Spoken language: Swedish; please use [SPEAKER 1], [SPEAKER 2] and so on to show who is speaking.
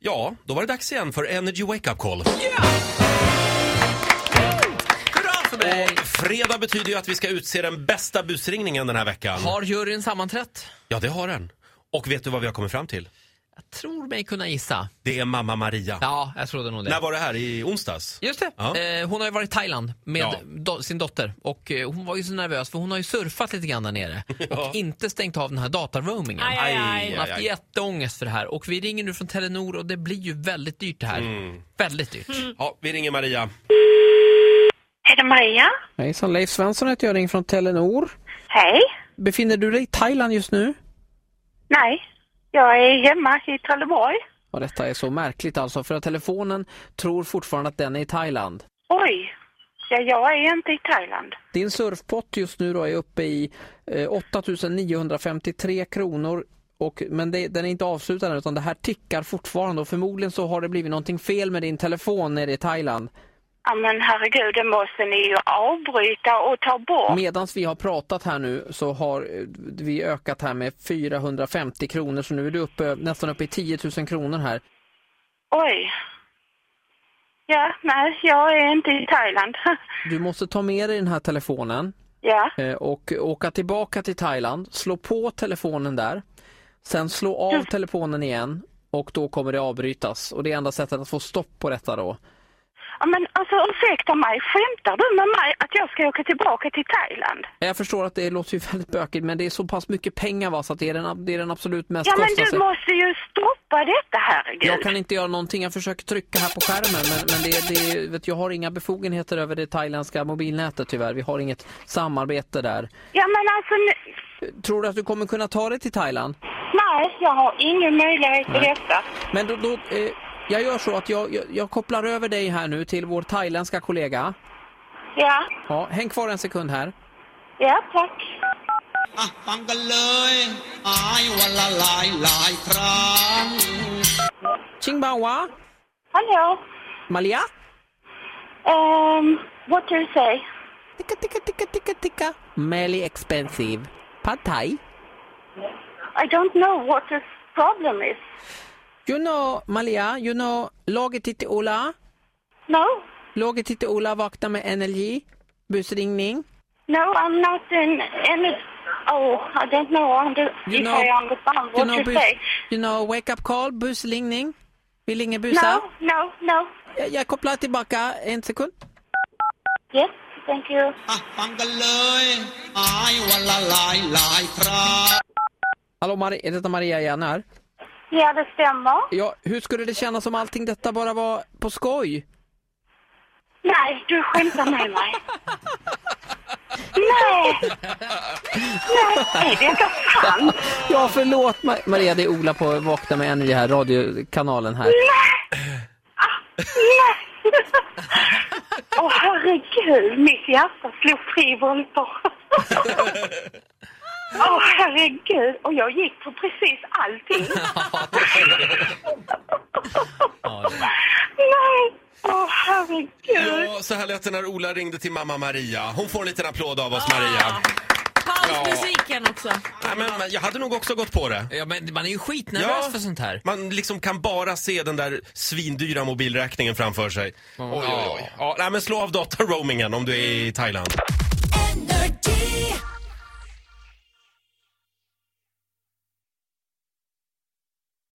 [SPEAKER 1] Ja, då var det dags igen för Energy Wake Up Call.
[SPEAKER 2] Hurra för mig!
[SPEAKER 1] Och fredag betyder ju att vi ska utse den bästa busringningen den här veckan.
[SPEAKER 2] Har juryn sammanträtt?
[SPEAKER 1] Ja, det har den. Och vet du vad vi har kommit fram till?
[SPEAKER 2] Jag tror mig kunna gissa.
[SPEAKER 1] Det är mamma Maria.
[SPEAKER 2] Ja, jag trodde nog det.
[SPEAKER 1] När var det här? I onsdags?
[SPEAKER 2] Just det.
[SPEAKER 1] Ja.
[SPEAKER 2] Eh, hon har ju varit i Thailand med
[SPEAKER 1] Ja.
[SPEAKER 2] do- sin dotter och eh, hon var ju så nervös för hon har ju surfat lite grann där nere
[SPEAKER 1] Ja.
[SPEAKER 2] och inte stängt av den här dataroamingen.
[SPEAKER 3] Aj,
[SPEAKER 1] Aj,
[SPEAKER 3] aj,
[SPEAKER 1] aj,
[SPEAKER 2] Hon har haft
[SPEAKER 1] aj.
[SPEAKER 2] jätteångest för det här och vi ringer nu från Telenor och det blir ju väldigt dyrt det här.
[SPEAKER 1] Mm.
[SPEAKER 2] Väldigt dyrt.
[SPEAKER 3] Mm.
[SPEAKER 1] Ja, vi ringer Maria.
[SPEAKER 4] Är det Maria?
[SPEAKER 5] Hejsan, Leif Svensson heter jag, ringer från Telenor.
[SPEAKER 4] Hej.
[SPEAKER 5] Befinner du dig i Thailand just nu?
[SPEAKER 4] Nej, jag är hemma i Trelleborg.
[SPEAKER 5] Och detta är så märkligt alltså, för att telefonen tror fortfarande att den är i Thailand.
[SPEAKER 4] Oj, ja, jag är inte i Thailand.
[SPEAKER 5] Din surfpott just nu då är uppe i eh, 8953 kronor, och, men det, den är inte avslutad än, utan det här tickar fortfarande och förmodligen så har det blivit någonting fel med din telefon nere i Thailand.
[SPEAKER 4] Ja, men herregud, det måste ni ju avbryta och ta bort.
[SPEAKER 5] Medan vi har pratat här nu så har eh, vi ökat här med 450 kronor, så nu är du uppe, nästan uppe i 10 000 kronor här.
[SPEAKER 4] Oj. Ja, nej, jag är inte i Thailand.
[SPEAKER 5] Du måste ta med dig den här telefonen
[SPEAKER 4] Ja,
[SPEAKER 5] Eh, och åka tillbaka till Thailand, slå på telefonen där, sen slå av telefonen igen och då kommer det avbrytas. Och det är enda sättet att få stopp på detta då.
[SPEAKER 4] ja men alltså ursäkta mig, skämtar du med mig att jag ska åka tillbaka till Thailand?
[SPEAKER 5] Jag förstår att det låter ju väldigt bökigt men det är så pass mycket pengar va så att det är den, det är den absolut mest
[SPEAKER 4] Ja, men du
[SPEAKER 5] kostnadseffektiva.
[SPEAKER 4] måste ju stoppa detta,
[SPEAKER 5] Jag
[SPEAKER 4] herregud.
[SPEAKER 5] kan inte göra någonting, jag försöker trycka här på skärmen men, men det, det, vet, jag har inga befogenheter över det thailändska mobilnätet tyvärr. Vi har inget samarbete där.
[SPEAKER 4] Ja, men alltså, nu-
[SPEAKER 5] Tror du att du kommer kunna ta dig till Thailand?
[SPEAKER 4] nej, jag har ingen möjlighet till detta.
[SPEAKER 5] Men då, då eh, jag gör så att jag, jag, jag kopplar över dig här nu till vår thailändska kollega.
[SPEAKER 4] Ja,
[SPEAKER 5] Ja, häng kvar en sekund här.
[SPEAKER 4] ja, tack.
[SPEAKER 6] อ่ะฟังกันเลยอายวันละหลายหลายครั้ง
[SPEAKER 5] Chingbawa,
[SPEAKER 4] Hello.
[SPEAKER 5] Malia,
[SPEAKER 4] Um, what do you say?
[SPEAKER 5] ticka ticka ticka ticka ticka. Melly expensive. Pad thai.
[SPEAKER 4] I don't know what the problem is.
[SPEAKER 5] You know, Malia, you know, laget titti Ola.
[SPEAKER 4] No,
[SPEAKER 5] Laget titti Ola vaknar med energi. Busringning.
[SPEAKER 4] no, I'm not in any. Oh, I don't know. Under,
[SPEAKER 5] You
[SPEAKER 4] if
[SPEAKER 5] know-
[SPEAKER 4] I understand
[SPEAKER 5] You
[SPEAKER 4] what
[SPEAKER 5] know,
[SPEAKER 4] you
[SPEAKER 5] bus,
[SPEAKER 4] say.
[SPEAKER 5] you know, wake up call, busringning. Vill ingen busa?
[SPEAKER 4] No, no, no.
[SPEAKER 5] Jag, jag kopplar tillbaka en sekund.
[SPEAKER 4] Yes, thank you.
[SPEAKER 6] อ่ะฟังกันเลยอายวันละหลายหลายครั้ง
[SPEAKER 5] Hallå, Mari- är detta Maria igen här?
[SPEAKER 4] Ja, det stämmer.
[SPEAKER 5] Ja, hur skulle det kännas om allting detta bara var på skoj?
[SPEAKER 4] Nej, du skämtar med mig. Nej! Nej, är det inte sant?
[SPEAKER 5] Ja, förlåt Ma- Maria, det är Ola på Vakna med Energy här, radiokanalen här.
[SPEAKER 4] Ah, Nej! Åh, herregud, mitt hjärta slog tre volter. Åh, herregud. Och jag gick på precis allting. Nej! Åh, herregud.
[SPEAKER 1] Ja, så här lät det när Ola ringde till mamma Maria. Hon får en liten applåd av oss, Maria.
[SPEAKER 3] Pausmusiken också.
[SPEAKER 1] Nej, men jag hade nog också gått på det.
[SPEAKER 2] Ja, men man är ju skitnervös
[SPEAKER 1] Ja.
[SPEAKER 2] för sånt här.
[SPEAKER 1] Man liksom kan bara se den där svindyra mobilräkningen framför sig. Oj, oj, oj. Ja, nej, men slå av dataroamingen om du är i Thailand.